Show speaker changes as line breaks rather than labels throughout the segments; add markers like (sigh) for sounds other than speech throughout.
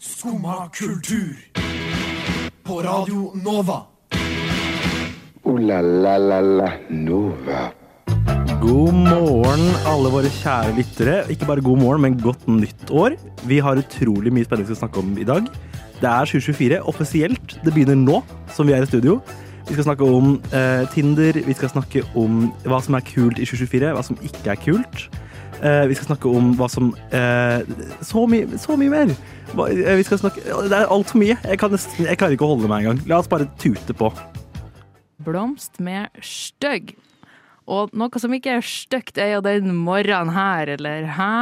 Skumma kultur. På Radio Nova.
Ooh la la la la Nova.
God morgen, alle våre kjære lyttere. Ikke bare god morgen, men godt nytt år. Vi har utrolig mye spennende vi skal snakke om i dag. Det er 2024 offisielt. Det begynner nå, som vi er i studio. Vi skal snakke om eh, Tinder, vi skal snakke om hva som er kult i 2024, hva som ikke er kult. Eh, vi skal snakke om hva som eh, Så mye så mye mer! Hva, eh, vi skal snakke, det er altfor mye. Jeg, kan nesten, jeg klarer ikke å holde meg engang. La oss bare tute på.
Blomst med stygg. Og noe som ikke er stygt, er jo den morgenen her, eller hæ?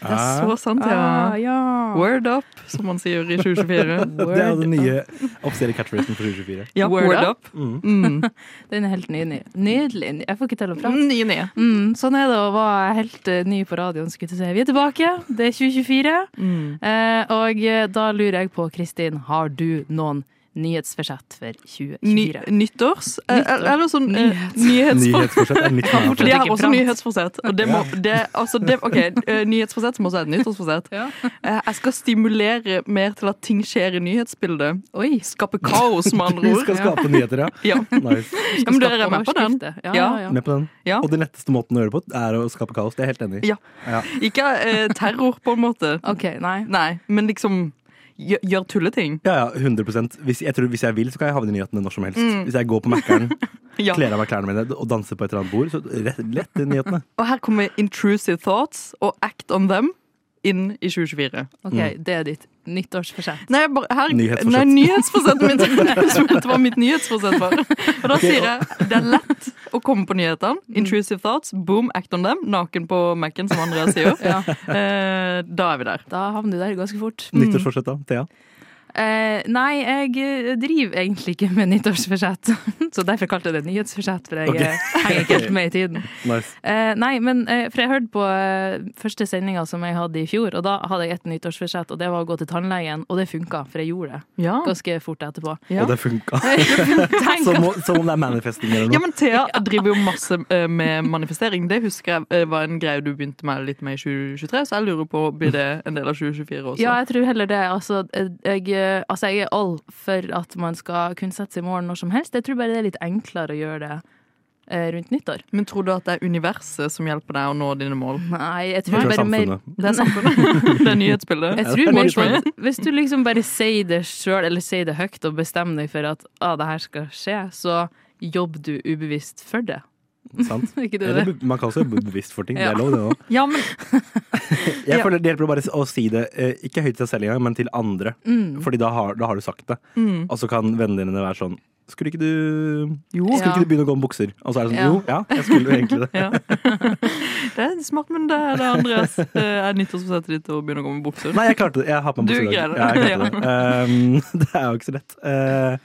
Det er så sant, ja. Word up, som man sier i 2024.
Det er jo den nye offisielle catchphrasen for 2024.
Ja,
Word
word, up.
Den er helt nydelig. Nydelig. Jeg får ikke til å prate.
Nye nye.
Mm, sånn er det å være helt eh, ny på radioen. skulle jeg til å si. Vi er tilbake, det er 2024.
Mm.
Eh, og eh, da lurer jeg på, Kristin, har du noen nyhetsforsett for
Ny,
2024?
nyttårs? Eh,
Nyttår.
Eller sånn eh, nyhetsforsett.
Nyhetsfortsett er nytt navn.
For de har
Ikke
også
prat.
nyhetsforsett. Og det må, det, altså det, ok, eh, nyhetsforsett som også er et nyttårsforsett.
Ja.
Eh, Jeg skal stimulere mer til at ting skjer i nyhetsbildet.
Oi.
Skape kaos,
(laughs)
med
Vi
andre ord.
skal skape nyheter, ja.
Ja.
Nice.
Ja, men dere er med på den?
Overskrifter. Ja,
Ja.
ja.
Med på den.
Ja.
Og den letteste måten å gjøre det på er å skape kaos. Det er jeg helt enig i.
Ja. Ikke eh, terror, på en måte.
OK, nei.
Nei, men liksom gjør, gjør tulleting.
Ja, ja, 100 hvis jeg, tror, hvis jeg vil, så kan jeg havne i nyhetene når som helst. Hvis jeg går på Mækkern,
Mm. (laughs) Ja.
kler av meg klærne mine og danser på et eller annet bord, så rett, lett i nyhetene.
Og her kommer Intrusive Thoughts og Act on Them inn i 2024.
OK,
Mm.
det er ditt nyttårsforsett.
Nei, bare, her,
Nyhetsforsett.
Nei, nyhetsforsettet mitt. (laughs) Jeg spurte hva mitt nyhetsforsett var. Og da sier jeg det er lett å komme på nyhetene. Intrusive Thoughts, boom, Act on Them. Naken på Mac-en, som Andreas sier.
Ja,
Eh, da er vi der.
da havner du der ganske fort.
Mm.
Nyttårsforsett, da. Thea.
Eh, nei, jeg eh, driver egentlig ikke med nyttårsforsett. (laughs) Så derfor kalte jeg det nyhetsforsett, for jeg
Ok.
eh, henger ikke helt med i tiden.
Nice.
Eh, nei, men eh, for jeg hørte på eh, første sendinga som jeg hadde i fjor, og da hadde jeg et nyttårsforsett, og det var å gå til tannlegen, og det funka, for jeg gjorde det
(laughs) Ja.
ganske fort etterpå. (laughs)
Ja.
Og det funka.
(laughs)
Tenk
Som,
at-
om- som om det er manifesting eller
Ja,
noe.
men Thea driver jo masse eh, med manifestering. Det husker jeg eh, var en greie du begynte med litt med i 2023, så jeg lurer på blir det en del av 2024 også.
Ja, jeg tror heller det. Altså, eh, jeg, eh, altså, jeg er all for at man skal kunne sette seg i morgen når som helst. Jeg tror bare det er litt enklere å gjøre det eh, rundt nyttår.
Men tror du at det er universet som hjelper deg å nå dine mål?
Nei, jeg
Jeg
tror
tror det er
bare mer
samfunnet.
Det er samfunnet. (laughs) det er nyhetsbildet.
Jeg tror mer på
Management.
at hvis du liksom bare sier det sjøl, eller sier det høyt, og bestemmer deg for at ah, det her skal skje, så jobber du ubevisst for det.
Sant?
(laughs) Ikke du
Eller,
det?
be- man kan også jobbe bevisst for ting. Det
Ja.
er lov, det òg.
Ja, men
Jeg
Ja.
føler Det hjelper å bare å si det, eh, ikke høyt til seg selv engang, men til andre.
Mm.
Fordi da har, da har du sagt det. Og så kan vennene dine være sånn Skulle ikke du
Jo.
Skulle
Ja.
ikke du begynne å gå med bukser? Og så er det sånn
Ja.
Jo, ja, jeg skulle jo
(laughs)
egentlig det.
ja. Det er smart, men det er det, Andreas. Det er nyttårsforsettet ditt å begynne å gå med bukser.
Nei, jeg klarte det. Jeg har på meg
Du
bukser i dag.
greier det.
Ja,
(laughs)
jeg klarte det. Um, (laughs) det er jo ikke så lett. Uh,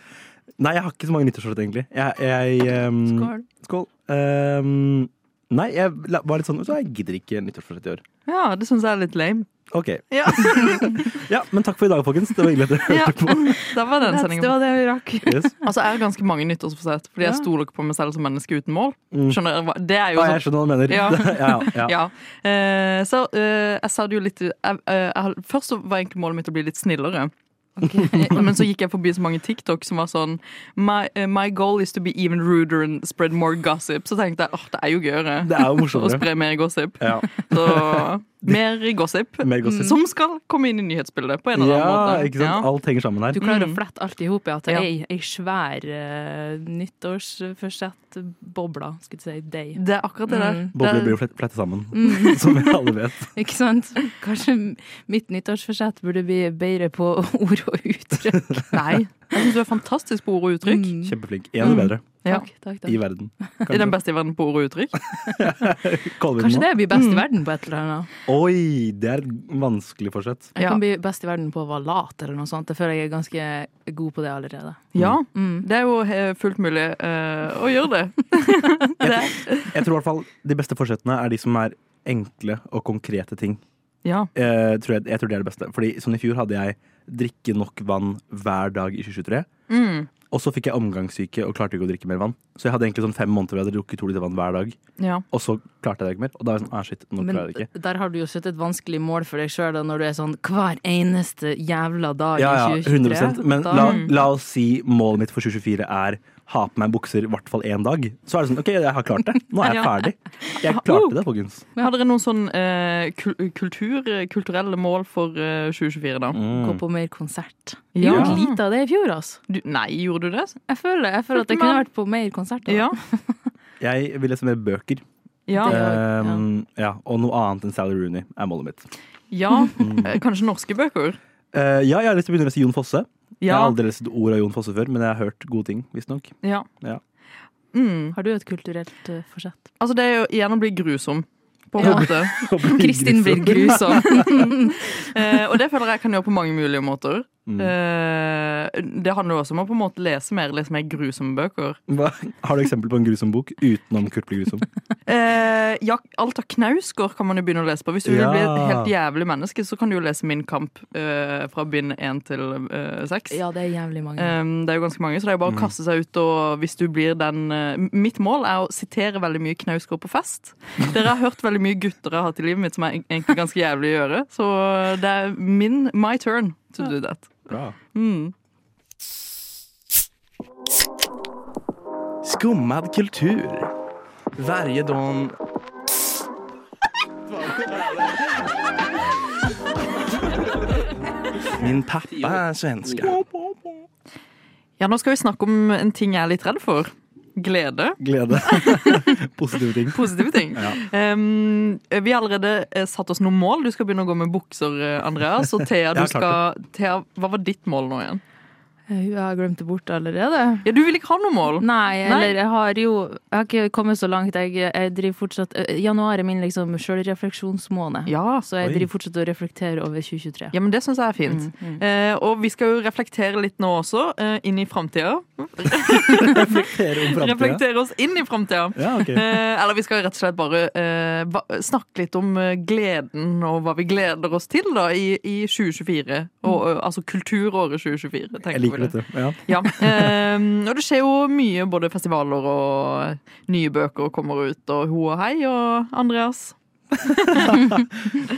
nei, jeg har ikke så mange nyttårsforsett, egentlig. Jeg, jeg, um,
Skål.
Skål. Um, nei, jeg la- var litt sånn Så jeg gidder ikke nyttårsforsett i år.
Ja, det syns jeg er litt lame.
OK.
Ja.
(laughs) Ja, men takk for i dag, folkens. Det var hyggelig at dere
Ja,
hørte på.
Da var den
That's- Det
sendingen.
var det vi rakk.
Yes.
Altså, jeg har ganske mange nyttårsforsett, fordi
Ja.
jeg stoler ikke på meg selv som menneske uten mål.
Mm.
Skjønner dere hva? Det er jo
Ah,
sånn
jeg skjønner hva du mener.
Ja.
(laughs) ja, ja, ja.
Ja. Eh, så eh, jeg sa det jo litt jeg, eh, jeg, Først så var egentlig målet mitt å bli litt snillere. (laughs) Men så gikk jeg forbi så mange TikTok som var sånn My, eh, my goal is to be even ruder and spread more gossip. Så tenkte jeg åh, det er jo gøyere
Det er jo
(laughs) å
morsommere.
spre mer gossip. (laughs)
Ja.
Så mer gossip.
(laughs) Mer gossip.
Som skal komme inn i nyhetsbildet på en eller annen
ja,
måte.
ikke sant?
Ja.
Alt henger sammen her.
Du klarer å flette alt i hop i at det
Ja.
er ei, ei svær uh, nyttårsforsett-bobla, skulle jeg si, deg.
Det er akkurat det
Mm.
der.
Bobler blir
Det Mm.
jo flett- flettet sammen, (laughs) som vi alle vet.
(laughs) Ikke sant? Kanskje mitt nyttårsforsett burde bli bedre på ord og uttrykk. Mm. (laughs)
er, nei. Jeg syns du er fantastisk på ord og uttrykk.
Kjempeflink. En av
Mm.
de bedre
Ja.
Takk, takk,
i
takk.
verden.
I den beste i verden på ord og uttrykk.
Kaller vi den nå?
Kanskje det blir best i verden på et eller annet.
Oi, det er et vanskelig forsett.
Jeg
Ja.
kan bli best i verden på å være lat eller noe sånt. Jeg føler jeg er ganske god på det
Mm.
allerede.
Ja,
Mm.
det er jo eh, fullt mulig eh, å gjøre det.
Jeg tror i hvert fall De beste forsettene er de som er enkle og konkrete ting.
Ja.
Eh, tror jeg,
Mm.
jeg tror det er det beste. Fordi sånn I fjor hadde jeg drikke nok vann hver dag i 2023. Og så fikk jeg omgangssyke og klarte ikke å drikke mer vann. Så jeg hadde egentlig sånn fem måneder hvor jeg hadde drukket to liter vann hver dag.
Ja.
Og så klarte jeg det ikke mer. Og da var jeg sånn, ah shit, nå
Men
klarer jeg det ikke.
der har du jo satt et vanskelig mål for deg sjøl, når du er sånn hver eneste jævla dag
Ja, ja,
i
100
2023.
Men
da-
la, la oss si målet mitt for 2024 er ha på meg bukser i hvert fall én dag. Så er det sånn OK, jeg har klart det. Nå er jeg ferdig. Jeg klarte det, folkens.
Men hadde dere noen sånn eh, kul kultur, kulturelle mål for eh, 2024, da?
Mm.
Gå på mer konsert. Vi
Ja.
gjorde lite av det i fjor, altså.
Du, nei, gjorde du det?
Jeg føler, jeg føler at jeg
Men-
kunne vært på mer konserter.
Ja.
Jeg vil lese mer bøker.
Ah, Ja.
Det-
Ehm, ja, og noe annet enn Sally Rooney er målet mitt.
ja.
Mm.
Eh, Kanskje norske bøker?
Eh, ja, jeg har lyst til å begynne å lese Jon Fosse. Jeg
Ja.
har aldri lest et ord av Jon Fosse før, men jeg har hørt gode ting, visstnok.
Ja.
Ja.
Mm.
Har du et kulturelt eh, forsett?
Altså, det er jo igjen å bli grusom. På
(laughs)
en
Ja.
måte.
Kristin blir grusom.
(laughs) Eh, og det føler jeg kan gjøre på mange mulige måter.
Mm.
Eh, det handler jo også om å på en måte lese mer, lese mer grusomme bøker.
Hva, har du eksempel på en grusom bok utenom Kurt blir grusom?
Eh, ja, alt av Knausgård kan man jo begynne å lese på. Hvis du vil
Ja.
bli et helt jævlig menneske, så kan du jo lese Min kamp eh, fra bind én til eh, seks.
Ja, det er jævlig mange.
Um, det er jo ganske mange, så det er jo bare å kaste seg ut. Og hvis du blir den eh, m- Mitt mål er å sitere veldig mye Knausgård på fest. Dere har hørt veldig mye gutter jeg har hatt i livet mitt som er egentlig ganske jævlig å gjøre. Så det er min my turn to do that.
Bra.
Mm.
Skummad kultur. Varje dag... Min pappa är svenska.
Ja, nå skal vi snakke om en ting jeg er litt redd for. Glede.
(laughs) Glede. Positive ting.
Positive ting. Um, vi har allerede eh, satt oss noen mål. Du skal begynne å gå med bukser, eh, Andreas. Og Thea, du
Jeg har klart
skal, Thea, hva var ditt mål nå igjen?
Jeg Eh, har glemt det bort allerede.
Ja, Du vil ikke ha noe mål?
Nei,
Nei.
eller jeg har jo Jeg har ikke kommet så langt. Jeg, jeg driver fortsatt eh, Januar er min liksom sjølrefleksjonsmåned.
Ja,
Så jeg
Oi.
driver fortsatt og reflekterer over 2023.
Ja, men Det syns jeg er fint. Eh, og vi skal jo reflektere litt nå også, eh, inn i framtida.
Reflektere om framtida.
Reflektere oss inn i framtida.
Ja, ok.
Eh, eller vi skal rett og slett bare eh, ba snakke litt om eh, gleden og hva vi gleder oss til da i, i 2024. Og, eh, altså kulturåret 2024. tenker
Jeg
vi
liker
det.
dette. Ja.
Ja, eh, og det skjer jo mye, både festivaler og eh, nye bøker kommer ut, og ho og hei og Andreas.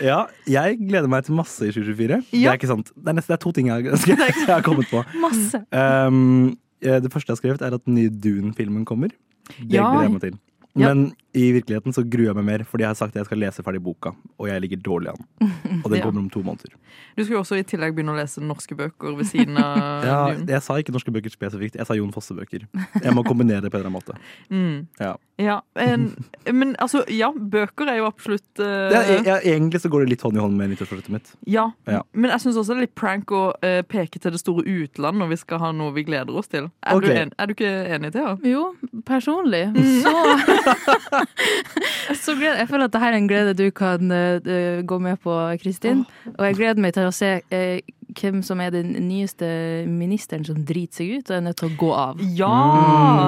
ja, jeg gleder meg til masse i 2024. Det
Ja.
er ikke sant. Det er, nesten, det er to ting jeg, jeg har kommet på.
Masse!
Um, eh, det første jeg har skrevet, er at den nye Dune-filmen kommer. Det
Ja.
gleder jeg meg til.
Ja.
Men i virkeligheten så gruer jeg meg mer, fordi jeg har sagt at jeg skal lese ferdig boka. Og jeg ligger dårlig an.
(laughs)
Og den
Ja.
kommer om to måneder.
Du skal jo også i tillegg begynne å lese norske bøker ved siden
(laughs)
av
Ja,
Dune.
jeg sa ikke norske bøker spesifikt, jeg sa Jon Fosse-bøker. Jeg må kombinere det på en eller annen
(laughs)
måte.
Mm.
Ja.
Ja, en,
(laughs)
men altså, ja, bøker er jo absolutt eh,
Ja, jeg, jeg, egentlig så går det litt hånd i hånd med nyttårsforsettet mitt.
ja.
Ja.
men jeg syns også det er litt prank å eh, peke til det store utland når vi skal ha noe vi gleder oss til. Er,
Ok.
du, en, er du ikke enig, Thea?
Jo, personlig så, Mm. (laughs) så gleder, Jeg føler at dette er en glede du kan eh, gå med på, Kristin. Og jeg gleder meg til å se eh, hvem som er den nyeste ministeren som driter seg ut og er nødt til å gå av.
Ja!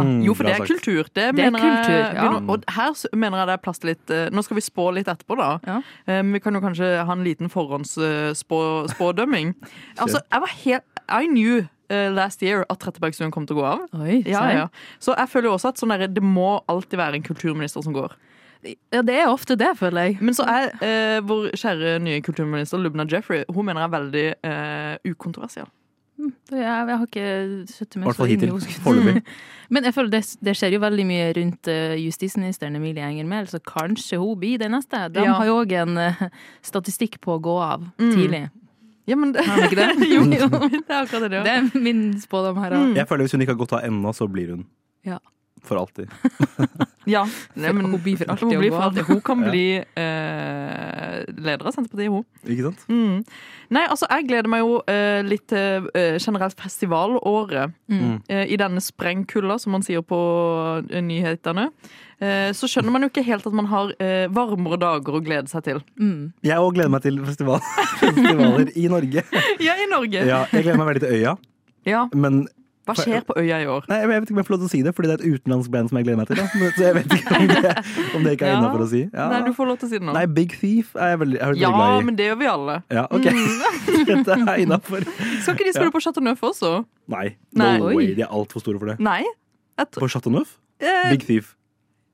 Mm,
jo, for
bra
det er
sagt.
kultur. Det,
Det er
mener
kultur,
jeg.
ja.
begynner- Og her s- mener jeg det er plass til litt eh, Nå skal vi spå litt etterpå, da.
Ja.
Eh, men vi kan jo kanskje ha en liten
(laughs)
forhåndsspådømming. altså, jeg var helt I knew eh, last year at Trettebergstuen kom til å gå av.
Oi,
Ja,
serr?
ja. Så jeg føler jo også at sånn der, det må alltid være en kulturminister som går.
ja, det er ofte det, føler jeg.
Men så er eh, vår kjære nye kulturminister Lubna Jeffrey Hun mener jeg er veldig eh, ukontroversiell.
Jeg, jeg har ikke sittet
I
meg
hvert
så
fall
inn i
hittil.
hos-
(laughs) Foreløpig.
Men jeg føler det, det skjer jo veldig mye rundt eh, justisministeren Emilie Enger Mehl, så kanskje hun blir den neste. De
Ja.
har jo òg en eh, statistikk på å gå av
Mm.
tidlig.
Ja, men det,
Har de ikke det?
(laughs) jo, jo, det er akkurat det.
Det
det.
er min spådom her.
Mm.
da.
Jeg føler Hvis hun ikke har gått av ennå, så blir hun.
Ja.
For alltid.
Ja. Nei, men,
Hun blir for alltid
hun,
å
blir
gå
for
av.
alltid. hun kan bli eh, leder av Senterpartiet, hun.
Ikke sant?
Mm. Nei, altså, jeg gleder meg jo eh, litt til eh, generelt festivalåret.
Mm.
Eh, I denne sprengkulda, som man sier på eh, nyhetene. Eh, så skjønner man jo ikke helt at man har eh, varmere dager å glede seg til.
Mm.
Jeg òg gleder meg til festival, (laughs) festivaler i Norge.
Ja, i Norge! Ja.
Ja, jeg gleder meg veldig til Øya, men
Hva skjer på øya i år?
nei, jeg vet ikke om jeg får lov til å si det, fordi det er et utenlandsk band som jeg gleder meg til. Da. Men- Så jeg vet ikke om det, om det ikke er
Ja.
innafor å si. Ja.
Nei, du får lov til å si det nå.
Nei, Big Thief er jeg veldig, jeg er veldig
ja, Mm.
glad i.
men det gjør vi alle.
Ja, ok. (laughs) Dette er innafor.
Skal ikke de spille på Chateau Neuf også?
Nei.
Nei.
No
Oi.
way, de er altfor store for det.
Nei. Jeg tror,
For Chateauneuf?
eh,
Big Thief.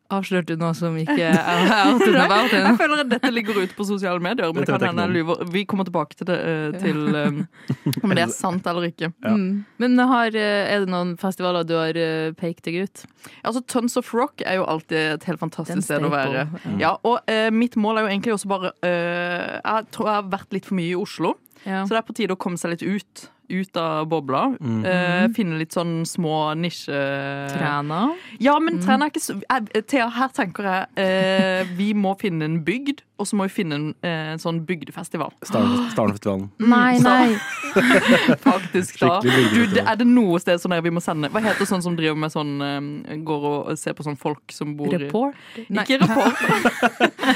Avslørte du noe som ikke (laughs) er out and about?
jeg føler at dette ligger ute på sosiale medier, men det
Dette vet jeg
kan hende jeg
ikke
lyver. Vi kommer tilbake til det. eh, Til,
(laughs)
eh, om det er sant eller ikke.
Ja.
Mm. Men har, eh, er det noen festivaler du har eh, pekt deg ut?
Altså, Tons of Rock er jo alltid et helt
Den
fantastisk sted å
staple.
være. Ja, og eh, mitt mål er jo egentlig også bare eh, Jeg tror jeg har vært litt for mye i Oslo.
Ja. Mhm.
Så det er på tide å komme seg litt ut. Ut av bobla. Eh, finne litt sånn små nisje...
eh, Træna.
Ja,
Mhm.
men Træna er ikke så jeg- Thea, her tenker jeg eh, vi må finne en bygd, og så må vi finne en eh, en sånn bygdefestival. Ah.
Starn- Starnfestivalen.
Nei, nei. (laughs)
Faktisk, da.
Skikkelig
Du,
bygdefestival.
det, er det noe sted sånn her vi må sende Hva heter sånn som driver med sånn eh, Går og ser på sånn folk som bor i
Report? Nei.
Ikke rapport.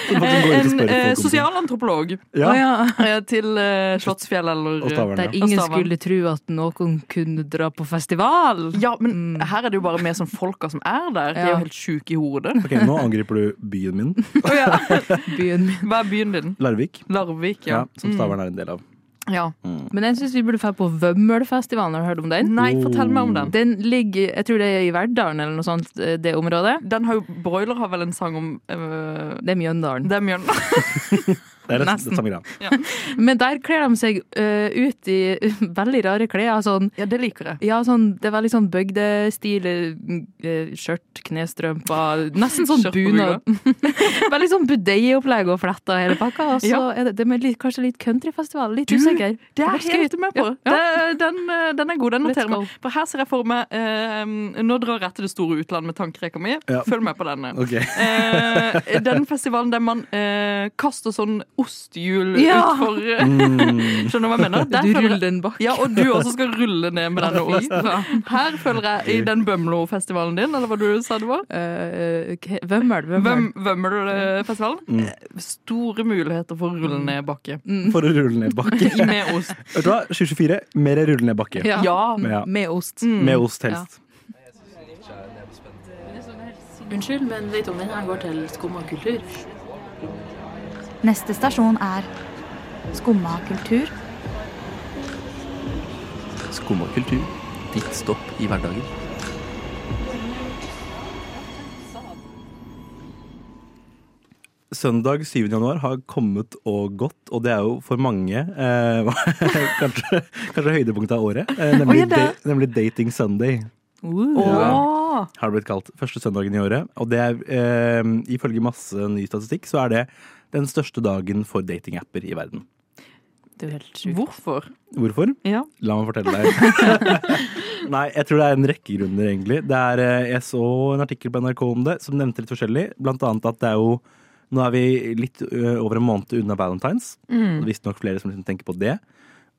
Sånn at du går ut og spør
En
folk
eh,
om ting. (laughs)
sosialantropolog
Ja,
Å, ja.
eh, til eh, Slottsfjell eller
og Stavern,
Der
ja.
ingen
Og Stavern.
skulle tro at noen kunne dra på festival.
Ja, men her er det jo bare med sånn folka som er der. De er
Ja.
jo helt sjuke i (laughs) hodet.
Ok, Nå angriper du byen min,
Byen min.
(laughs) Hva er byen din?
Larvik,
Larvik,
ja,
ja. Mm.
som Stavern er en del av.
ja.
Mm.
Men jeg syns vi burde dra på Vømmølfestivalen. Har du hørt om den?
Nei, fortell meg om
Oh.
den.
Den ligger, jeg tror det er i Verdalen eller noe sånt, eh, det området.
Den har jo, Broiler har vel en sang om øh,
Det er Mjøndalen.
dem igjen.
Det er det,
Nesten.
det samme greia.
Men der kler de seg ø, ut i (laughs) veldig rare klær. Sånn,
(laughs) Ja, det liker jeg.
ja, sånn, det er veldig sånn bygdestil. ø, Skjørt, knestrømper. Nesten sånn
Skjørt og
bunad. (laughs) veldig sånn budeieopplegg og fletter og hele pakka. Og så
Ja.
er det, det er litt, kanskje litt countryfestival. Litt
Du,
usikker.
Det er
Jeg skal
helt
ut.
med på.
Ja.
Det, den, øh, den er god. Den
Let's
noterer
go.
meg. For her ser jeg for meg øh, Nå drar jeg til det store utland med tankereka mi.
Ja.
Følg med på denne.
Ok,
Eh, den festivalen der man øh, kaster sånn ostehjul
Ja.
utfor øh,
Mm.
Skjønner du hva jeg mener? Der
Du
føler jeg-
ruller den bak.
Ja, og du også skal rulle ned med denne osten. Her føler jeg i den Bømlo-festivalen din, eller hva du sa det var?
Ø, Eh, ok, Vømmøl, Vømmøl.
Bøm- Bømlo-festivalen.
Mm.
Eh, Store muligheter for å rulle
Mm.
ned bakke.
For å rulle ned bakke.
(laughs) I med
(laughs)
ost.
Vet du hva? 2024, mer rulle ned bakke.
Ja.
Ja. Mm.
Ja.
Med ost.
Med ost helst.
Unnskyld, men vet du om den her går til skumma kultur?
Neste stasjon er Skumma kultur.
Skum og kultur. Ditt stopp i hverdagen.
Søndag 7. januar har kommet og gått, og det er jo for mange eh, (laughs) kanskje, kanskje høydepunktet av året. Eh, nemlig,
Å, ja, det. Uh.
da- nemlig Dating Sunday,
Åh.
har det blitt kalt. Første søndagen i året. Og det er, eh, ifølge masse ny statistikk, så er det den største dagen for datingapper i verden.
Det er jo helt sjukt.
Hvorfor?
Hvorfor?
Ja.
La meg fortelle deg. (laughs) Nei, jeg tror det er en rekke grunner, egentlig. Det er, eh, jeg så en artikkel på NRK om det som nevnte litt forskjellig. Blant annet at det er jo Nå er vi litt ø, over en måned unna valentines. Mm. Visstnok flere som liksom tenker på det.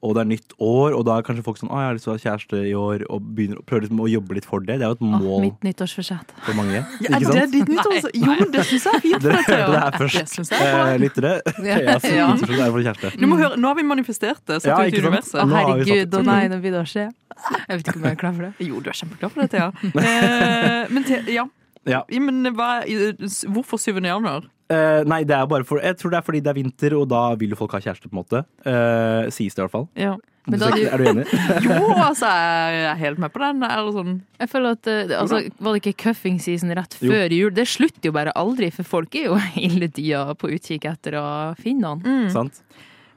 Og det er nytt år, og da er kanskje folk sånn Å, jeg har lyst til å ha kjæreste i år, og begynner, å- prøver liksom å jobbe litt for det. Det er jo et
Å,
mål
Ah, mitt nyttårsforsett.
for mange.
Er
Ikke
det
sant?
ditt nytt også? altså, Jo, men det syns jeg er fint.
Dere hørte (laughs) det
Thea.
her
Det
først.
synes jeg er bra.
Eh, Lyttere. Ja, så,
Ja.
det er for kjæreste.
Du må høre, nå har vi manifestert det. Satt
Ja,
ut i
ikke sant?
Å,
universet.
Nå har vi
herregud,
satt-
å nei, nå blir det å skje. Jeg vet ikke om jeg er klar for det.
Jo, du er kjempeglad for det, Thea. Eh, men Thea, ja.
Ja.
Ja, Men hva, eh, hvorfor 7. januar?
Eh, nei, det er bare for, jeg tror det er fordi det er vinter, og da vil jo folk ha kjæreste, på en måte. Eh, sies det i hvert fall.
Ja.
Men
Du
da
ser ikke-
er
er du enig?
Jo, altså, jeg er helt med på den. Eller sånn.
Jeg føler at eh, altså, Var det ikke cuffing season rett
Jo.
før jul? Det slutter jo bare aldri, for folk er jo (laughs) hele tida på utkikk etter å finne
Mm.
noen.
Mm.
Sant?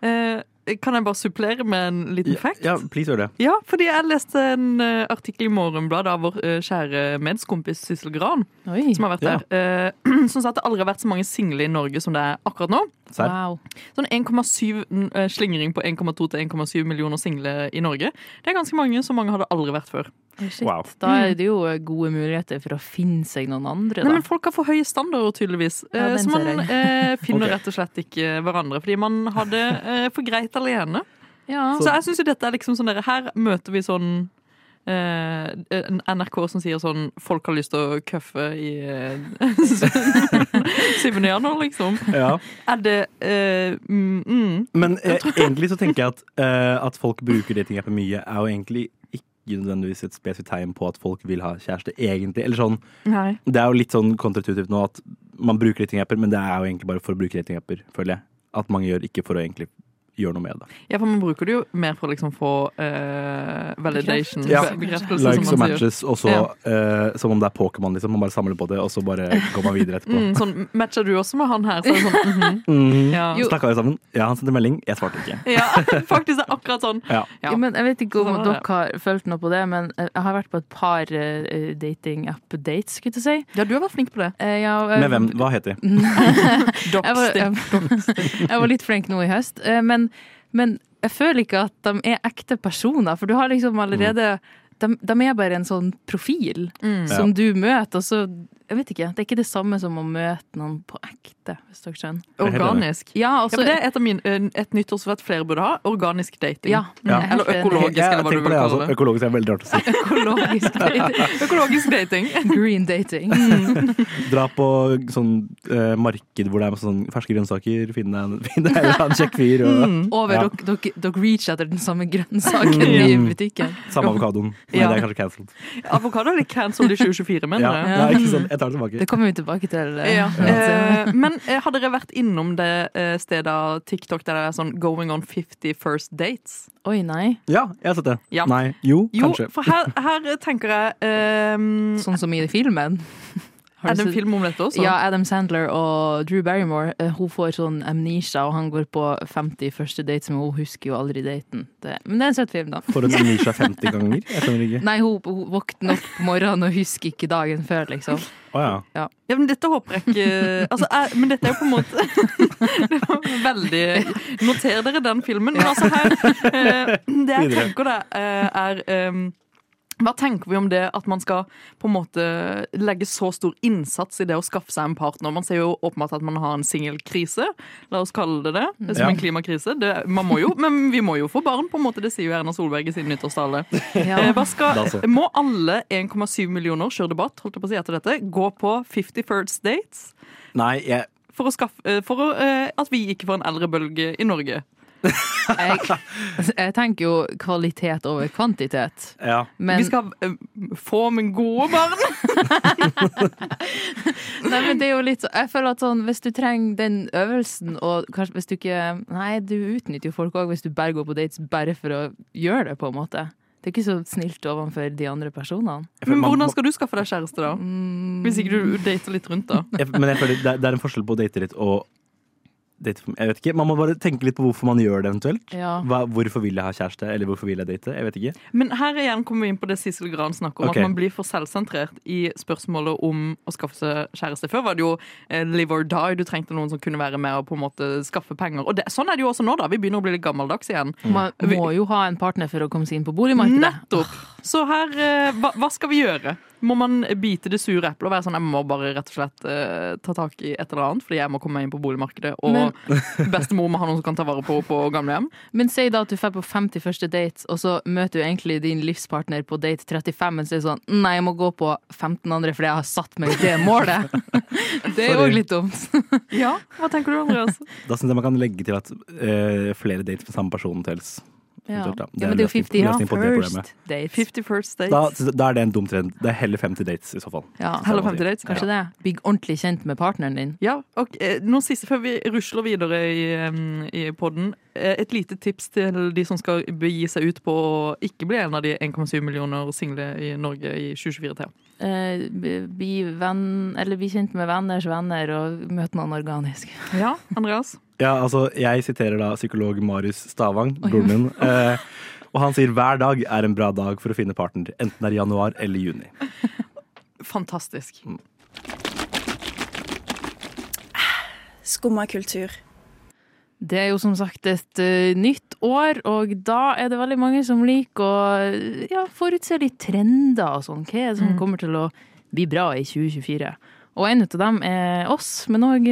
Eh, kan jeg bare supplere med en liten fact?
Ja, please gjør det.
Ja, fordi jeg leste en eh, artikkel i Morgenbladet av vår eh, kjære medskompis Sissel Gran,
Oi,
som har vært
Ja.
der, eh, (clears throat) som sa at det aldri har vært så mange single i Norge som det er akkurat nå.
Serr.
wow.
Sånn 1,7 n- eh, slingring på 1,2 til 1,7 millioner single i Norge. Det er ganske mange, så mange har det aldri vært før.
Oi, Shit.
Wow.
Da er det jo eh, gode muligheter for å finne seg noen andre,
Nei,
da.
men folk har for høye standarder, tydeligvis.
Ja, den
eh, så
ser
man
jeg.
eh, finner
Ok.
rett og slett ikke hverandre, fordi man har det eh, for greit alene.
Ja.
Så jeg syns jo dette er liksom sånn der, Her møter vi sånn eh, en NRK som sier sånn Folk har lyst til å køffe i eh, (laughs) 7. januar, liksom.
Ja.
Er det eh, mm, mm. (laughs)
Men eh, egentlig så tenker jeg at, eh, at folk bruker datingapper mye, er jo egentlig ikke nødvendigvis et spesifikt tegn på at folk vil ha kjæreste, egentlig. Eller sånn,
Nei.
det er jo litt sånn kontratuitivt nå at man bruker datingapper, men det er jo egentlig bare for å bruke datingapper, føler jeg. At mange gjør ikke for å egentlig gjør noe med det.
Ja, for man bruker det jo mer for å liksom få eh, validation.
Ja.
be- Bekreftelse,
Likes
Sånn som
og
man sier.
matches, og så eh, som om det er Pokémon, liksom. Man bare samler på det, og så bare går man videre etterpå.
Mm, sånn, matcher du også med han her? Så er det sånn, mhm,
Mhm.
ja.
Jo.
Snakka vi sammen? Ja, han sendte melding. Jeg svarte ikke.
ja, (laughs) faktisk det er akkurat sånn.
Ja.
Ja.
Jo, men jeg vet ikke om
Sånn er
dere
det.
har følt noe på det, men eh, jeg har vært på et par eh, dating-app-dates, skulle jeg til å si.
Ja, du har vært flink på det.
Eh, jeg, eh,
Med hvem? Hva heter de?
Jeg var,
Doppstick.
(laughs) jeg, jeg var litt flink nå i høst, eh, men, men jeg føler ikke at de er ekte personer, for du har liksom allerede de, de er bare en sånn profil som du møter, og så Jeg vet ikke. Det er ikke det samme som å møte noen på ekte, hvis dere skjønner.
Organisk.
Ja, og
Ja,
så
men det er et, av mine, eh, et nyttårsforsett flere burde ha. Organisk dating.
Ja,
Ja.
jeg er
Eller
helt enig.
økologisk,
Jeg
eller hva
tenker på
du vil
det,
kalle
altså.
det.
Økologisk er veldig rart å si.
(laughs) Økologisk dating.
Økologisk dating.
Green dating.
Dra på sånn eh, marked hvor det er masse sånn ferske grønnsaker, finne en, (laughs) finne en eller annen kjekk fyr, og
Mm.
Over
Ja.
dere- dere dere reacher etter den samme grønnsaken i
Mm.
butikken.
samme avokadoen. Men
Ja.
det er kanskje cancelled.
(laughs) Avokado er litt cancelled i eh, 2024, mener
Ja.
jeg.
Ja, ikke sant? Jeg tar det
Det
tilbake.
kommer vi tilbake til. eh,
Ja.
senere.
Eh, men eh, har dere vært innom det eh, stedet av TikTok der det er sånn 'going on 50 first dates'?
Oi, nei.
Ja, jeg har sett det.
Ja.
Nei. Jo,
Jo,
kanskje.
for her, her tenker jeg ehm,
Sånn som i filmen. Har
Er
du
det en
sett-
film om dette også?
Ja, Adam Sandler og Drew Barrymore eh, Hun får sånn amnesia, og han går på 50 første dates, men hun husker jo aldri daten. Det, men det er en søt film, da.
For en Nisha 50 ganger. Jeg skjønner ikke.
Nei, hun, hun våkner opp på morgenen og husker ikke dagen før, liksom.
Å ja.
Ja, men dette håper jeg (laughs) ikke altså, jeg, Men dette er jo på en måte Det var
(laughs)
veldig Eh, Noter dere den filmen. Men altså her eh, Det jeg
Videre.
tenker da, eh, er ehm, hva tenker vi om det at man skal på en måte legge så stor innsats i det å skaffe seg en partner? Man ser jo åpenbart at man har en singelkrise, la oss kalle det det. Som
Ja.
en klimakrise. Det, man må jo, men vi må jo få barn, på en måte. Det sier jo Erna Solberg i sin nyttårstale. Eh, Hva skal,
Da så.
må alle 1,7 millioner, kjør debatt, holdt jeg på å si etter dette, gå på 50 First Dates
Nei, jeg,
for, å skaffe, eh, for å, eh, at vi ikke får en eldrebølge i Norge?
Jeg, jeg tenker jo kvalitet over kvantitet.
ja.
Men,
vi skal eh, få med gode barn!
(laughs)
(laughs) nei, men det er jo litt så, jeg føler at sånn, hvis du trenger den øvelsen, og kanskje hvis du ikke Nei, du utnytter jo folk òg hvis du bare går på dates bare for å gjøre det, på en måte. Det er ikke så snilt overfor de andre personene.
Jeg føler
Men
man- Mm.
hvordan skal du skaffe deg kjæreste, da? Hvis ikke du dater litt rundt, da.
jeg, men jeg føler det er, det er en forskjell på å date litt og date for, Jeg vet ikke, Man må bare tenke litt på hvorfor man gjør det eventuelt.
Ja.
Hva, hvorfor vil jeg ha kjæreste, eller hvorfor vil jeg date? Jeg vet ikke.
Men her igjen kommer vi inn på det Sissel Gran snakker om,
Ok.
at man blir for selvsentrert i spørsmålet om å skaffe seg kjæreste. Før var det jo eh, live or die, du trengte noen som kunne være med og på en måte skaffe penger. Og det, sånn er det jo også nå, da. Vi begynner å bli litt gammeldags igjen.
Man må jo ha en partner for å komme seg inn på boligmarkedet.
Nettopp. Så her, eh, hva, hva skal vi gjøre? Må man bite det sure eplet og være sånn, jeg må bare rett og slett eh, ta tak i et eller annet, fordi jeg må komme meg inn på boligmarkedet, og
Men-
(laughs) bestemor må ha noen som kan ta vare på på gamlehjem?
Men si da at du drar på 50 første date, og så møter du egentlig din livspartner på date 35, men så er det sånn Nei, jeg må gå på 15 andre fordi jeg har satt meg det målet. Det er jo
Sorry.
òg litt dumt.
Ja, hva tenker du, (laughs) Andreas?
Da syns jeg man kan legge til at eh, flere dates med samme person tels.
Ja.
Eventuelt, ja. Det er
men det er jo
løsning-
50 ja,
løsning på det problemet.
first date.
50 first dates.
Da, da er det en dum trend. Det er heller 50 dates, i så fall.
Ja,
Heller 50 dates.
kanskje det. Bli ordentlig kjent med partneren din.
Ja, og eh, noen siste før vi rusler videre i, em, i podden. Eh, Et lite tips til de som skal begi seg ut på å ikke bli en av de 1,7 millioner single i Norge i 2024 til.
Eh, bli, venn, eller bli kjent med venners venner, og møte noen organisk.
Ja, Andreas?
Ja, altså, jeg siterer da psykolog Marius Stavang, broren min. eh, og han sier hver dag er en bra dag for å finne partner, enten det er i januar eller juni.
Fantastisk.
Skumma kultur.
Det er jo som sagt et eh, nytt år, og da er det veldig mange som liker å eh, ja, forutse litt trender og sånn. Hva er det som
Mm.
kommer til å bli bra i 2024? Og en av dem er oss, men òg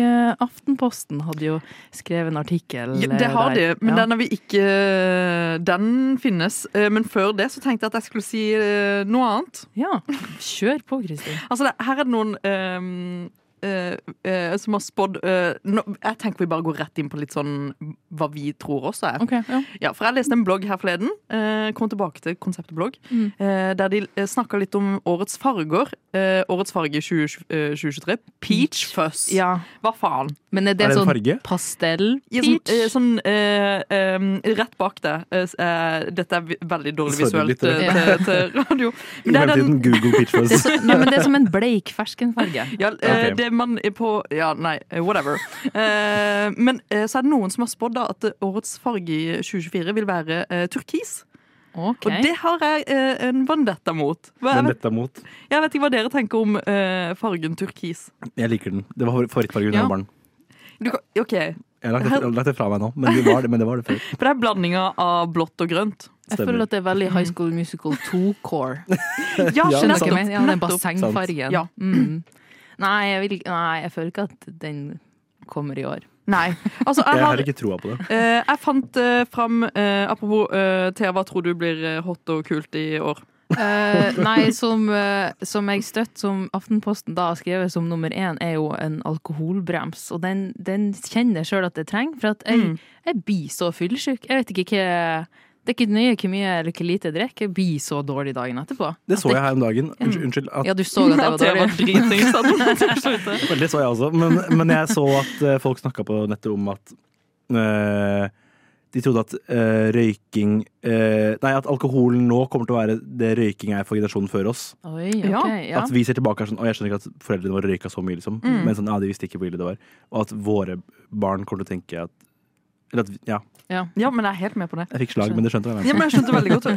Aftenposten hadde jo skrevet en artikkel. eh,
Ja, det har de,
der.
men
Ja.
den har vi ikke Den finnes. Eh, Men før det så tenkte jeg at jeg skulle si eh, noe annet.
Ja, kjør på, Kristin.
(laughs) Altså, det, her er det noen eh, eh, eh, som har spådd eh, nå- Jeg tenker vi bare går rett inn på litt sånn hva vi tror også er.
Ok, ja.
Ja, for jeg leste en blogg her forleden. eh, kom tilbake til konseptet blogg.
Mm.
eh, der de snakka litt om årets farger. Eh, årets farge i 20, eh, 2023. Peach fuzz.
ja.
Hva faen?
Men er det,
Er det en
sånn
farge?
pastell
Ja,
peach?
sånn, eh, sånn eh, em, Rett bak det. Eh, s- eh, dette er vi- veldig dårlig
Sorry,
visuelt eh,
lyttere.
til, til radio.
I
Men det er
fremtiden
den
Google Peach
det, er
(laughs)
Fuzz.
så, nei, men det er som en bleik ferskenfarge.
ja, eh,
Ok.
det man er på Ja, nei, eh, whatever. Eh, men eh, så er det noen som har spådd da at eh, årets farge i 2024 vil være eh, turkis.
Ok.
Og det har jeg eh, en vendetta mot. Hva, jeg,
Men
vet,
dette er mot.
jeg vet ikke hva dere tenker om eh, fargen turkis.
Jeg liker den. Det var favor- favorittfargen da jeg
Ja.
var barn.
Du, kan- OK,
Jeg har lagt det- jeg har lagt det fra meg nå, men det var det, men det, var det før.
for det er blandinga av blått og grønt.
jeg føler at det er veldig High School
(laughs)
Musical 2-core.
Ja,
Ja,
Skjønner
skjønner
dere hva jeg
jeg
mener? Ja, den
Nettopp.
bassengfargen.
Ja.
Mm. (laughs) Nei, jeg vil, ikke- nei, jeg føler ikke at den kommer i år.
Nei. Altså,
Jeg
jeg
har
har
ikke troa på det.
Eh, jeg fant eh, fram eh, Apropos eh, Thea, hva tror du blir eh, hot og kult i år?
Eh, nei, som, eh, som jeg støtt, som Aftenposten da har skrevet som nummer én, er jo en alkoholbrems. Og den, den kjenner jeg sjøl at jeg trenger, for at jeg, jeg blir så fyllesyk. Jeg vet ikke hva Det er ikke nøye hvor mye eller hvor lite jeg drikker, jeg blir så dårlig dagen etterpå.
Det så jeg her om dagen. Unnskyld. unnskyld (laughs) at,
Ja, du så at
(laughs)
jeg var
Thea
dårlig.
var dritings. sa den.
Vel, Det så jeg også, men, men jeg så at eh, folk snakka på nettet om at eh, de trodde at eh, røyking eh, Nei, at alkoholen nå kommer til å være det røyking er for generasjonen før oss.
Oi, ok, ja.
Ja,
ja.
At vi ser tilbake og er sånn Å, jeg skjønner ikke at foreldrene våre røyka så mye, liksom. Men sånn, ja, de visste ikke hvor ille det var. Og at våre barn kommer til å tenke at Eller at Ja,
Ja, men jeg er helt med på det.
jeg fikk slag, men det skjønte jeg.
Ja, men jeg skjønte veldig godt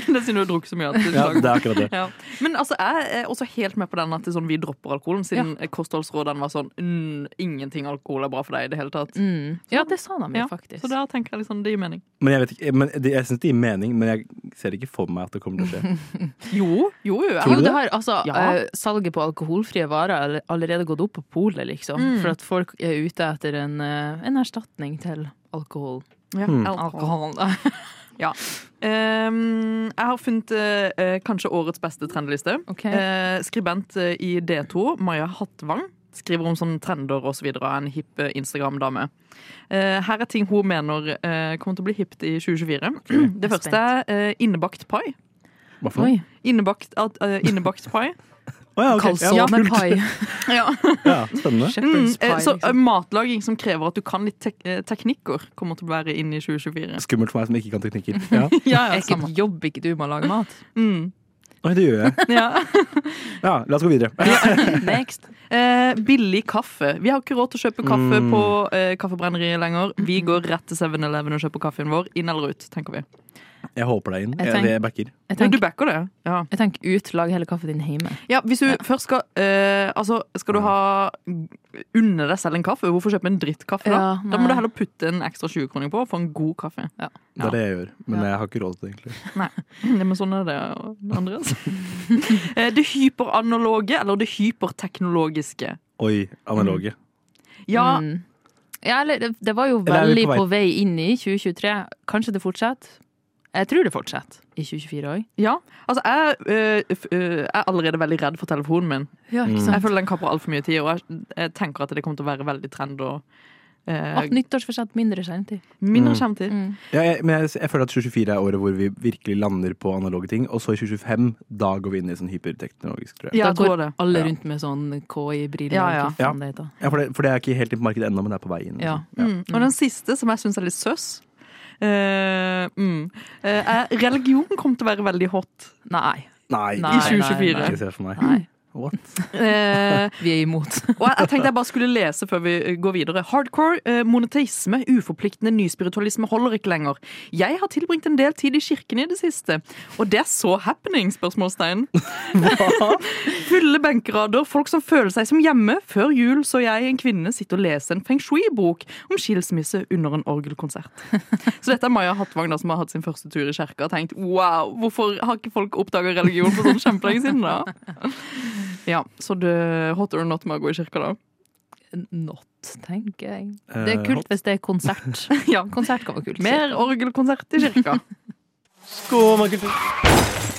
eh, (laughs) Det siden du har drukket så mye. At du
Ja,
slager.
det er akkurat det.
ja. Men altså, jeg er også helt med på den at det er sånn, vi dropper alkoholen, siden kostholdsrådene var sånn mm, ingenting alkohol er bra for deg i det hele tatt.
Mm. ja, det sa de jo
Ja,
faktisk.
Så der tenker jeg liksom, det gir mening.
Men jeg, vet ikke- men det- jeg syns det gir mening, men jeg ser ikke for meg at det kommer til å
(laughs)
skje.
Jo, jo, jo.
Tror
Jeg,
du
Jo, det
det?
har, altså,
Ja.
eh, salget på alkoholfrie varer har alle- allerede gått opp på polet, liksom. For at folk er ute etter en, eh, en erstatning til alkohol.
ja, alkohol. Ja. Ehm, jeg har funnet eh, eh, kanskje årets beste trendliste.
Ok.
Eh, skribent eh, i D2, Maja Hattvang, skriver om sånne trender osv. av en hipp eh, Instagram-dame. Eh, her er ting hun mener eh, kommer til å bli hipt i 2024.
Jeg er
Det første er eh, innebakt pai.
Hva for noe?
Oi.
Innebakt, at, eh, innebakt pai.
Å ja, ok. Ja,
Calzone
kult.
(laughs)
(laughs)
pie.
ja.
Ja, spennende.
mm,
Shepherd's
eh,
pie.
så eh,
Liksom.
matlaging som krever at du kan litt tek eh, teknikker, kommer til å være inn i 2024.
Skummelt for meg som ikke kan teknikker. (laughs) Ja.
Ja,
Er
ja,
ikke
samme.
jobb ikke du med å lage mat?
Mm.
Oi, det gjør jeg.
(laughs) Ja.
Ja, la oss gå videre.
Next.
Eh, billig kaffe. Vi har ikke råd til å kjøpe kaffe
Mm.
på eh, kaffebrenneriet lenger. Vi går rett til 7-Eleven og kjøper kaffen vår. Inn eller ut, tenker vi.
Eh, Jeg håper deg inn.
Jeg
Jeg,
tenk-
jeg backer.
Jeg
Men du
tenker,
backer det? Ja.
jeg tenker ut, lag hele kaffen din hjemme.
ja hvis du først skal eh, Altså, skal du ha unne deg selv en kaffe? Hvorfor kjøpe en drittkaffe da?
Ja,
da må
nei.
du heller putte en ekstra 20-kroning på og få en god kaffe.
(laughs)
Det er det jeg gjør. Men
Ja.
jeg har ikke råd til det, egentlig.
Ja, men sånn er det,
(laughs)
Andreas. Eh, det hyperanaloge eller det hyperteknologiske.
Oi, analoge.
Ja,
Mm. ja eller, det, det var jo
Eller er vi
veldig
på
på vei inn i 2023. Kanskje det fortsetter? Jeg tror det fortsetter i 2024 òg.
ja. Altså, jeg eh, f- eh, er allerede veldig redd for telefonen min.
Ja,
Mm.
ikke
Jeg
sant?
føler den kapper altfor mye tid, og jeg, jeg tenker at det kommer til å være veldig trend. Og, eh,
At nyttårsforsett mindre skjermtid.
mindre
Mm.
skjermtid.
Mm.
Ja, jeg, men jeg, jeg føler at 2024 er året hvor vi virkelig lander på analoge ting. Og så i 2025, da går vi inn i sånn hyperteknologisk, tror jeg.
Da
Ja, jeg tror
går
det.
alle
Ja.
rundt med sånn KI-briller.
Ja, ja.
eller hva faen det heter.
Ja, for, det, for det er ikke helt inn på markedet ennå, men det er på vei inn. liksom.
Ja.
Ja.
Mm. Og den siste, som jeg syns er litt søs eh, mm, eh, er Religion kommer til å være veldig hot.
Nei.
Nei,
Nei,
ikke-
nei, 2024.
Ikke se for meg.
Nei.
What?
Eh,
Vi er imot. (laughs)
og jeg, jeg tenkte jeg bare skulle lese før vi eh, går videre. Hardcore, eh, monoteisme, uforpliktende nyspiritualisme holder ikke lenger. Jeg har tilbringt en del tid i kirken i det siste, og det er så happening? spørsmålstegn. (laughs) Fulle benkerader, folk som føler seg som hjemme. Før jul så jeg en kvinne sitte og lese en feng shui-bok om skilsmisse under en orgelkonsert. (laughs) Så dette er Maja Hattvang da, som har hatt sin første tur i kjerka og tenkt wow, hvorfor har ikke folk oppdaga religion for sånn kjempelenge siden da? (laughs) Ja, så det hot or not med å gå i kirka da.
Not, tenker jeg.
Eh,
Det er kult
hot.
hvis det er konsert. (laughs)
Ja,
Konsert kan være kult.
mer orgelkonsert i kirka.
Skål, Michael.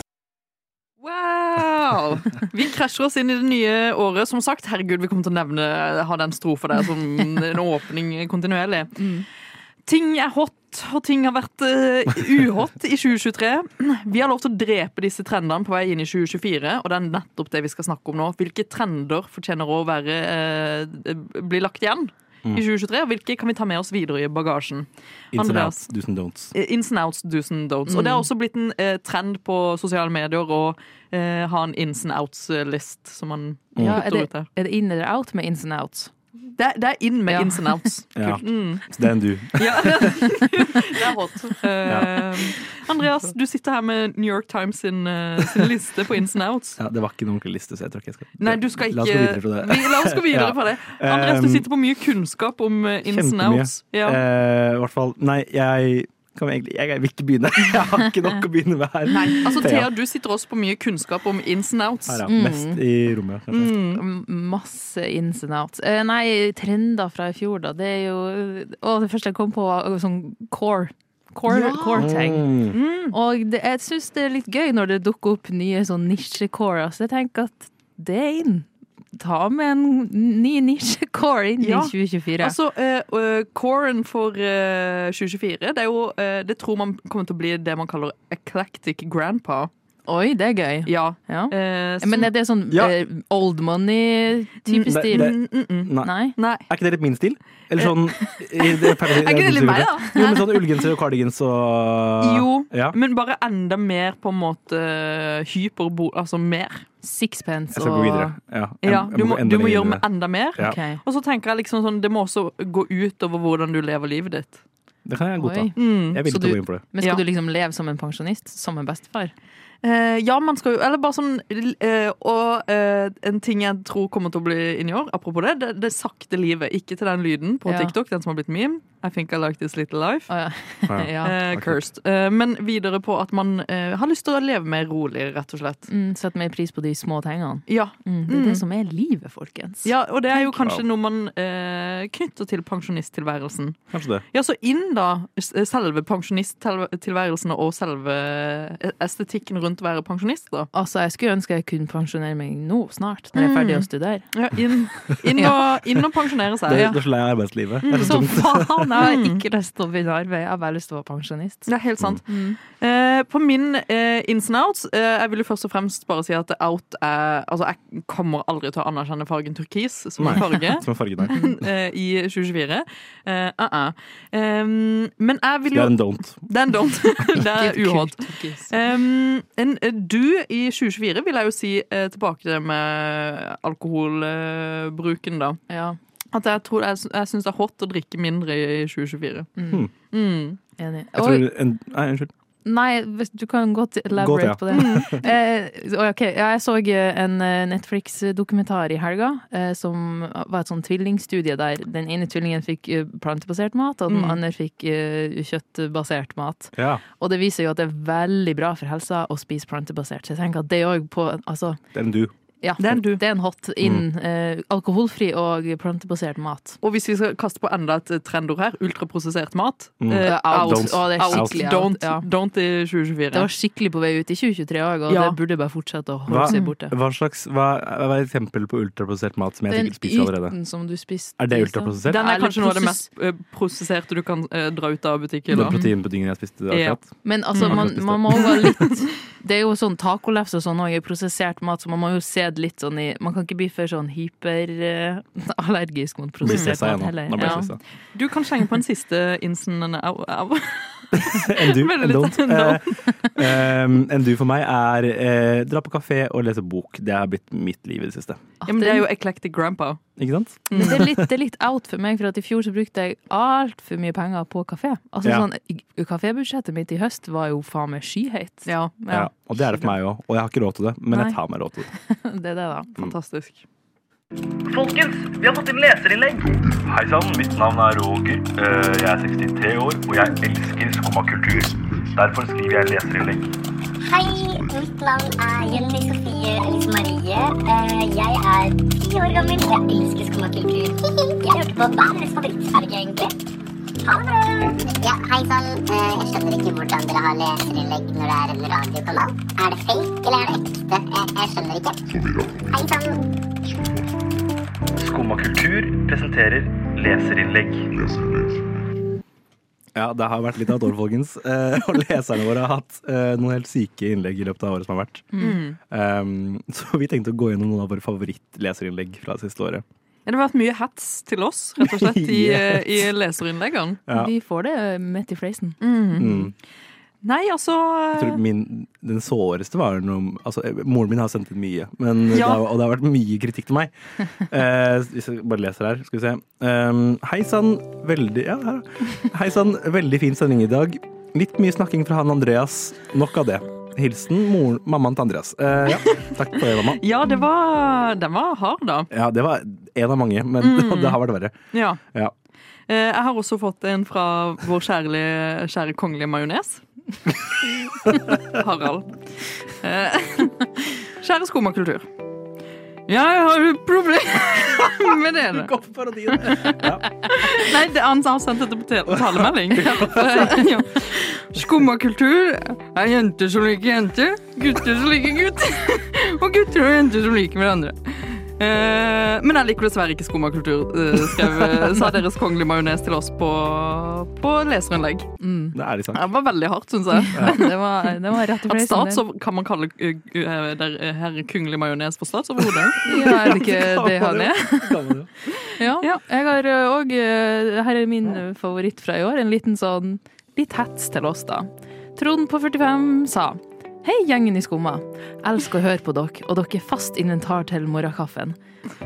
Wow! Wow! Vi krasjer oss inn i det nye året. Som sagt, herregud, vi kommer til å nevne ha den strofa der som en åpning kontinuerlig. Ting er hot, og ting har vært eh, uhot i 2023. Vi har lov til å drepe disse trendene på vei inn i 2024, og det er nettopp det vi skal snakke om nå. Hvilke trender fortjener å være, eh, bli lagt igjen i 2023, og hvilke kan vi ta med oss videre i bagasjen?
Ins and
Andreas.
outs, Eh, do's and don'ts.
Eh, Ins and outs, do's and
Mm.
don'ts. Og det har også blitt en eh, trend på sosiale medier å eh, ha en ins and outs-list som man
Ja, er,
putter
det,
ut der.
er det in eller out med ins and outs?
Det, er- det er inn med
Ja.
ins and outs.
(laughs) Ja.
Mm.
Så det er en du. (laughs)
Ja. det er hot. Eh, Andreas, du sitter her med New York Times sin, eh, sin liste på ins and outs.
Ja, det var ikke noen ordentlig liste, så jeg tror ikke jeg skal
Nei, du skal ikke
La oss gå videre fra det.
Vi, la oss gå videre
(laughs) Ja.
fra det. Andreas, du
Um,
sitter på mye kunnskap om eh, ins and
kjempemye.
outs. Ja.
Eh, I hvert fall Nei, jeg kan egentlig Jeg vil ikke begynne. (laughs) Jeg har ikke nok å begynne med her.
Nei, altså
Thea.
Thea, du sitter også på mye kunnskap om ins and outs.
Her, ja.
Mm.
Mest i rommet, kanskje.
Mm.
M- Masse ins and outs. Eh, nei, trender fra i fjor, da. Det er jo eh, Å, det første jeg kom på, var sånn core. Core, core tang.
Mm.
Og det, jeg syns det er litt gøy når det dukker opp nye sånn nisje-core. Altså, jeg tenker at det er inn. Ta med en ny nisje-core inn
Ja.
i 2024.
Altså, eh, eh, Coren for eh, 2024, det er jo eh, Det tror man kommer til å bli det man kaller eclectic grandpa.
Oi, det er gøy.
Ja.
Ja.
eh, som-
Men er det sånn
Ja.
eh, old
Mm,
money-type
det-
stil?
det-
Mm, mm, mm.
Nei.
Nei?
Nei.
Er ikke det litt min stil? Eller sånn i-
(laughs)
det Er ferdig-
Eh. Er ikke det litt meg, da?
Jo, men sånn ullgenser og cardigans og
Jo,
Ja.
men bare enda mer på en måte hyperbo... Altså mer.
Sixpence
Jeg skal gå
og
videre. Ja, jeg-
Ja,
jeg
du
gå
må,
enda
du må
lenger
gjøre
inn i
med
det.
enda mer.
Ja.
Ok.
Og så tenker jeg liksom sånn, det må også gå ut over hvordan du lever livet ditt.
Det kan jeg godta.
Oi.
Mm.
Jeg vil
Så
ikke
du-
gå inn på det.
Men skal du
Ja.
liksom leve som en pensjonist? Som en bestefar?
Eh, ja, man skal jo Eller bare sånn eh, Og eh, en ting jeg tror kommer til å bli inn i år, apropos det, det, det sakte livet. Ikke til den lyden på
Ja.
TikTok, den som har blitt meme. I think I like this little life.
Å ja.
(laughs)
Ja.
ja.
Eh,
akkurat.
cursed. Eh, men videre på at man eh, har lyst til å leve mer rolig, rett og slett.
(laughs) Mm, Sett mer pris på de små tingene.
Ja,
Mm, det er
Mm.
det som er livet, folkens.
ja og det er jo kanskje noe man eh, knytter til pensjonisttilværelsen.
Kanskje det.
Ja, så inn da s- eh, selve pensjonisttilværelsen og selve eh, estetikken rundt å være pensjonist, da.
Altså, jeg skulle ønske jeg kunne pensjonere meg nå snart, når jeg er ferdig å studere.
Ja,
(laughs)
inn, inn, og, inn og pensjonere seg.
Det,
Ja. Mm.
det er så lei av arbeidslivet. Det er så (laughs)
Så
dumt. Mm.
faen, jeg har ikke lyst til å begynne arbeid, jeg har bare lyst til å være pensjonist.
Det er helt sant. Eh, på min eh, ins and outs eh, Jeg vil jo først og fremst bare si at out er Altså, jeg kommer aldri til å anerkjenne fargen turkis som
Nei. (laughs)
en farge. (laughs)
Som en farge der.
eh, I 2024. Eh, uh -uh. Em, men jeg vil
Det
jo
er en don't.
Det er en don't. Det er uhånd.
Turkis.
Um, en, du i 2024 vil jeg jo si eh, tilbake til det med alkoholbruken, da.
Ja,
At jeg, tror- jeg, sy- jeg syns det er hot å drikke mindre i 2024.
Mm.
Mm.
enig.
Jeg
Oi,
tror en, nei, unnskyld.
nei, hvis- du kan godt elaborate
Godt, ja.
på
(laughs)
det. Eh, oi, ok, ja, jeg så eh, en eh, Netflix-dokumentar i helga, eh, som var et sånn tvillingstudie der den ene tvillingen fikk eh, plantebasert mat, og den
Mm.
andre fikk eh, kjøttbasert mat.
Ja,
Og det viser jo at det er veldig bra for helsa å spise plantebasert. Så jeg tenker at det òg på altså,
det er en du.
ja,
Det er en du. Mm.
det er en hot innen eh, alkoholfri og plantebasert mat.
Og hvis vi skal kaste på enda et eh, trendord her, ultraprosessert mat.
Mm.
eh, out.
Don't.
Å, det er
Out.
skikkelig
Don't,
out, ja.
don't i 2024.
Det var skikkelig på vei ut i 2023 òg, og
Ja.
det burde bare fortsette å holde
Hva,
seg borte.
hva slags hva, hva er et eksempel på ultraprosessert mat som jeg
Den
ikke spiser allerede?
yten som du spiste liksom.
Er det
i stad.
ultraprosessert?
Den er
Eller
kanskje noe av det
prosess-
mest eh, prosesserte du kan eh, dra ut av butikken.
Den
da.
proteinpuddingen jeg spiste akkurat?
Men altså,
Mm.
man, man må jo være litt
(laughs)
Det er jo sånn tacolefse og sånn òg, prosessert mat, så man må jo se det litt sånn i Man kan ikke bli for sånn (laughs) hyperallergisk mot
Blir
prosessert
stressa jeg
mat
nå.
heller.
Nå ble jeg
Ja.
stressa.
Du kan slenge på en siste insen. Au, au.
En
(laughs)
du,
(laughs) Veldig
en
litt
don't.
en don't.
Eh, (laughs) em, en du for meg er eh, dra på kafé og lese bok. Det har blitt mitt liv i det siste.
Ja, men det er jo eclectic grandpa.
Ikke sant?
Men det er, litt, det er litt out for meg, for at i fjor så brukte jeg altfor mye penger på kafé. Altså
Ja.
sånn, i- Kafébudsjettet mitt i høst var jo faen meg skyhøyt.
Ja,
Ja, og det er det for meg òg. Og jeg har ikke råd til det, men
Nei.
jeg tar meg råd til det.
(laughs) Det er det, da.
Mm.
Fantastisk.
Folkens, vi har fått inn leserinnlegg. Hei sann, mitt navn er Roger. Eh, Jeg er 63 år, og jeg elsker skummakultur. Derfor skriver jeg leserinnlegg.
Hei, mitt navn er Jenny Sofie Elise Marie. Eh, Jeg er ti år (laughs) gammel, og jeg elsker skummakultur. Jeg hørte på hver deres favorittfarge, egentlig. Ha det bra! Ja, hei sann. Eh, Jeg skjønner ikke hvordan dere har leserinnlegg når det er en radiokanal. Er det fake, eller er det ekte? Jeg, jeg skjønner ikke. Hei sann.
Skumma kultur presenterer leserinnlegg.
Ja, det har vært litt av et år, folkens. Eh, og leserne våre har hatt eh, noen helt syke innlegg i løpet av året som har vært.
Mm.
Um, så vi tenkte å gå gjennom noen av våre favorittleserinnlegg fra det siste året.
Det har vært mye hats til oss,
(laughs)
rett og slett, i, eh,
Yes.
i leserinnleggene.
Ja.
Vi får det eh, midt i fleisen.
Mm.
Nei, altså
Jeg tror min, den såreste var noe altså, eh, Moren min har sendt inn mye, men, eh, det
Ja.
har- og det har vært mye kritikk til
(laughs)
meg. Eh, hvis jeg bare leser her, skal vi se. Um, Hei sann, veldig ja, her. Hei sann, veldig fin sending i dag. Litt mye snakking fra han Andreas. Nok av det. Hilsen moren, mammaen til Andreas. Eh, ja, takk for det, mamma.
Ja, det var, den var hard, da.
Ja, det var en av mange, men
Mm.
(laughs) det har vært verre.
Ja.
Ja.
Eh, Jeg har også fått en fra vår kjære, kjære kongelige majones. Harald. Eh, (laughs) Kjære skomakultur. Jeg har et problem (laughs) med dere. Nei, det, han har sendt dette på te- (laughs) talemelding. Ja. Skummakultur er jenter som liker jenter, gutter som liker gutter, (laughs) og gutter og jenter som liker hverandre. Eh, men jeg liker dessverre ikke skummakultur, eh, (laughs) skrev, sa Deres Kongelige Majones til oss på, på leserinnlegg.
(laughs) Det er litt sant.
Det var veldig hardt, syns jeg.
(laughs) Det var, det var rett og
At
slett
statsover, Kan man kalle eh, eh, der, eh, herr Kongelig Majones for statsoverhode? (laughs)
Ja, er det
Eh,
ikke det han
(laughs)
er? Ja.
Ja.
Jeg har òg Her er min ø, favoritt fra i år. En liten sånn litt hets til oss, da. Trond på 45 sa Hei, gjengen i Skumma. Elsker å høre på dere, og dere er fast inventar til morgenkaffen.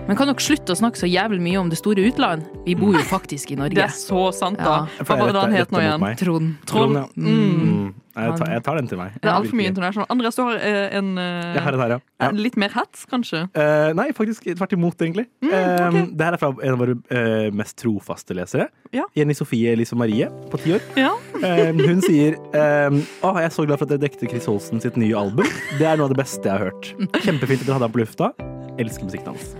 Men kan dere slutte å snakke så jævlig mye om det store utland? Vi bor jo faktisk i
Det
Norge.
er så sant,
Ja.
da. Hva var det han het nå igjen?
Trond.
Trond,
Trond.
ja.
Mm.
Mm. Nei, Jeg, tar, jeg tar den til meg.
Det er altfor mye
Virkelig.
internasjonalt. Andreas, du har eh, en eh,
Jeg har den her, ja. ja.
eh, litt mer hats, kanskje?
Eh, nei, faktisk tvert imot, egentlig.
Mm,
Eh, det her er fra en av våre eh, mest trofaste lesere.
Ja.
Jenny Sofie Elise Marie på ti år.
Ja.
Eh, hun sier eh, «Åh, jeg er så glad for at dere dekte Chris Holsten sitt nye album. Det er noe av det beste jeg har hørt. Kjempefint at dere hadde ham på lufta. Elsker musikken hans.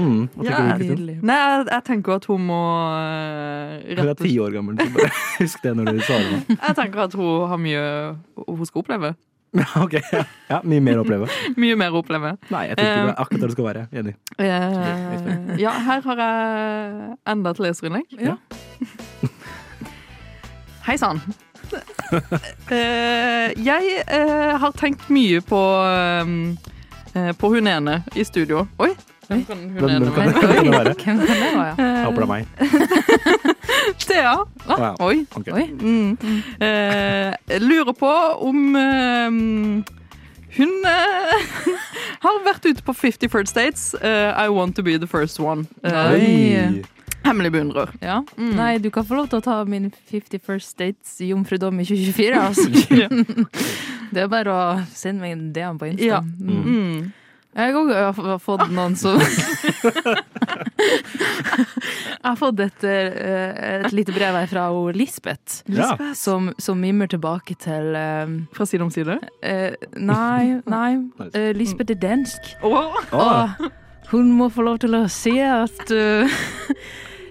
Mm, hva tenker
Ja,
du, Kristin?
Nei, jeg, jeg tenker at hun må eh,
Hun er
rett og
ti år gammel. så Bare (laughs) husk det når du svarer. nå.
Jeg tenker at hun har mye hun skal oppleve.
Ja, (laughs) ok. ja, mye mer å oppleve.
Mye mer å oppleve.
Nei, jeg tenker det er akkurat der du skal være. Jenny.
Eh, ja, her har jeg enda et leserinnlegg.
Ja.
(laughs) Hei sann. Eh, jeg eh, har tenkt mye på um, eh, på hun ene i studio. Oi! Hvem kan hun
Hvem-
ene
hvem (laughs)
være?
kan- hvem kan det være?
Hvem kan det være?
Jeg håper det er meg.
(laughs) Thea.
Wow.
Oi.
Ok.
Oi.
Mm. Eh, jeg lurer på om eh, hun eh, (laughs) har vært ute på 51st Dates. eh, I want to be the first one. Eh,
Oi.
hemmelig beundrer.
Ja. Nei, du kan få lov til å ta min 51st Dates jomfrudom i 2024, altså. Det er bare å sende meg en DM på Insta.
Ja.
Mm.
Mm.
Jeg òg har f- fått noen som Jeg har fått et, eh, et lite brev her fra hun Lisbeth,
Ja.
som, som mimrer tilbake til eh,
Fra side om side.
eh, Nei, nei, eh, Lisbeth er dansk.
Åh.
Åh,
Og hun må få lov til å si at eh,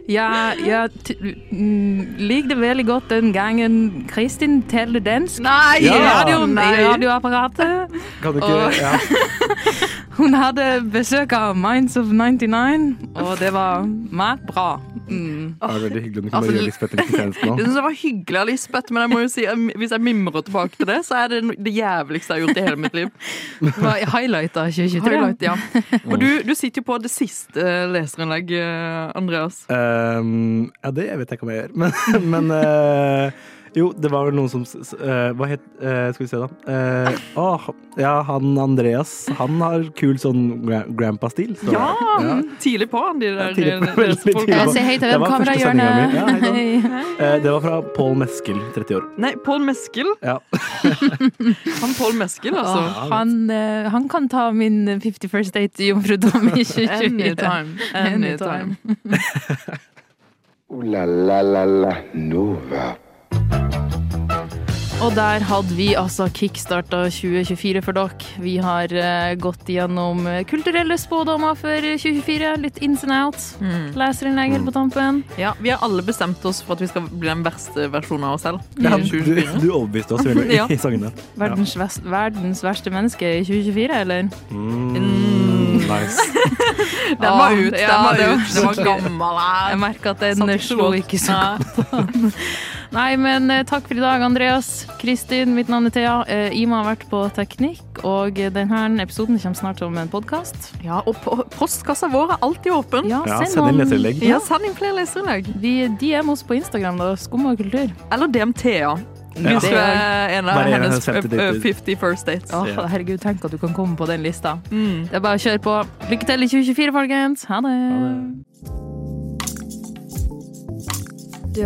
jeg, jeg t mm, likte veldig godt den gangen Kristin talte dansk i
Nei!
Ja.
radioen, i radioapparatet.
kan du ikke ja.
Hun hadde besøk av Minds of 99, og det var meget bra. Mm.
Det er veldig hyggelig om du
Altså,
kunne gjøre Lisbeth en
(laughs)
tjeneste
Jeg
nå.
synes det var hyggelig av Lisbeth, men jeg må jo si, at hvis jeg mimrer tilbake til det, så er det no- det jævligste jeg har gjort i hele mitt
(laughs)
liv.
Det var highlight av 2023.
Highlight, ja. Og du, du sitter jo på det siste eh, leserinnlegg, eh, Andreas.
Ehm, ja, det vet jeg ikke om jeg gjør. (laughs) Men, men eh, jo, det var vel noen som s- s- eh, Hva het eh, Skal vi se, da. Eh, åh, ja, han Andreas, han har kul sånn gra grandpa-stil. så-
Ja,
ja.
Tidlig på han, de der
Ja, tidlig på,
eh,
veldig tidlig
folka.
på.
Eh, Si hei til
Det var første
webkamerahjørnet.
sendingen min. Ja, hei
(laughs) Hei.
Eh, det var fra Pål Meskel, 30 år.
Nei, Pål Meskild.
Ja.
Han Pål Meskild, altså.
Åh, han, eh, han kan ta min 51st date jomfrudom i 2024.
Anytime. Anytime.
Ooh la la la la Nova.
Og der hadde vi altså kickstarta 2024 for dere. Vi har eh, gått gjennom eh, kulturelle spådommer for 2024. Litt ins and outs. Leserinnlegg helt på tampen.
Ja, Vi har alle bestemt oss for at vi skal bli den verste versjonen av oss selv.
Ja,
i
du,
2024.
du overbeviste oss veldig
(laughs) Ja.
i sangene.
Verdens, vest, verdens verste menneske i 2024, eller?
Mm, nice.
Den var ut,
Ja,
den var
det var
ut. Den var gammel. eh.
Jeg merker at den
Satt ikke
slo
godt.
ikke så godt an. (laughs) Nei, men eh, takk for i dag, Andreas. Kristin, mitt navn er Thea. Eh, Ima har vært på Teknikk, og eh, denne episoden kommer snart som en podkast.
Ja, og po- postkassa vår er alltid åpen.
Ja,
Ja, send inn leserinnlegg.
Ja, send inn flere leserinnlegg.
Vi DM oss på Instagram, da. Skum og kultur.
Eller DMT-a. Hvis du er en av
Bare en av
hennes
hennes 50 dater.
eh, 50 first dates.
Åh,
Ja.
herregud, tenk at du kan komme på den lista.
Mm.
Det er bare å kjøre på. Lykke til i 2024, folkens. Ha det.
Du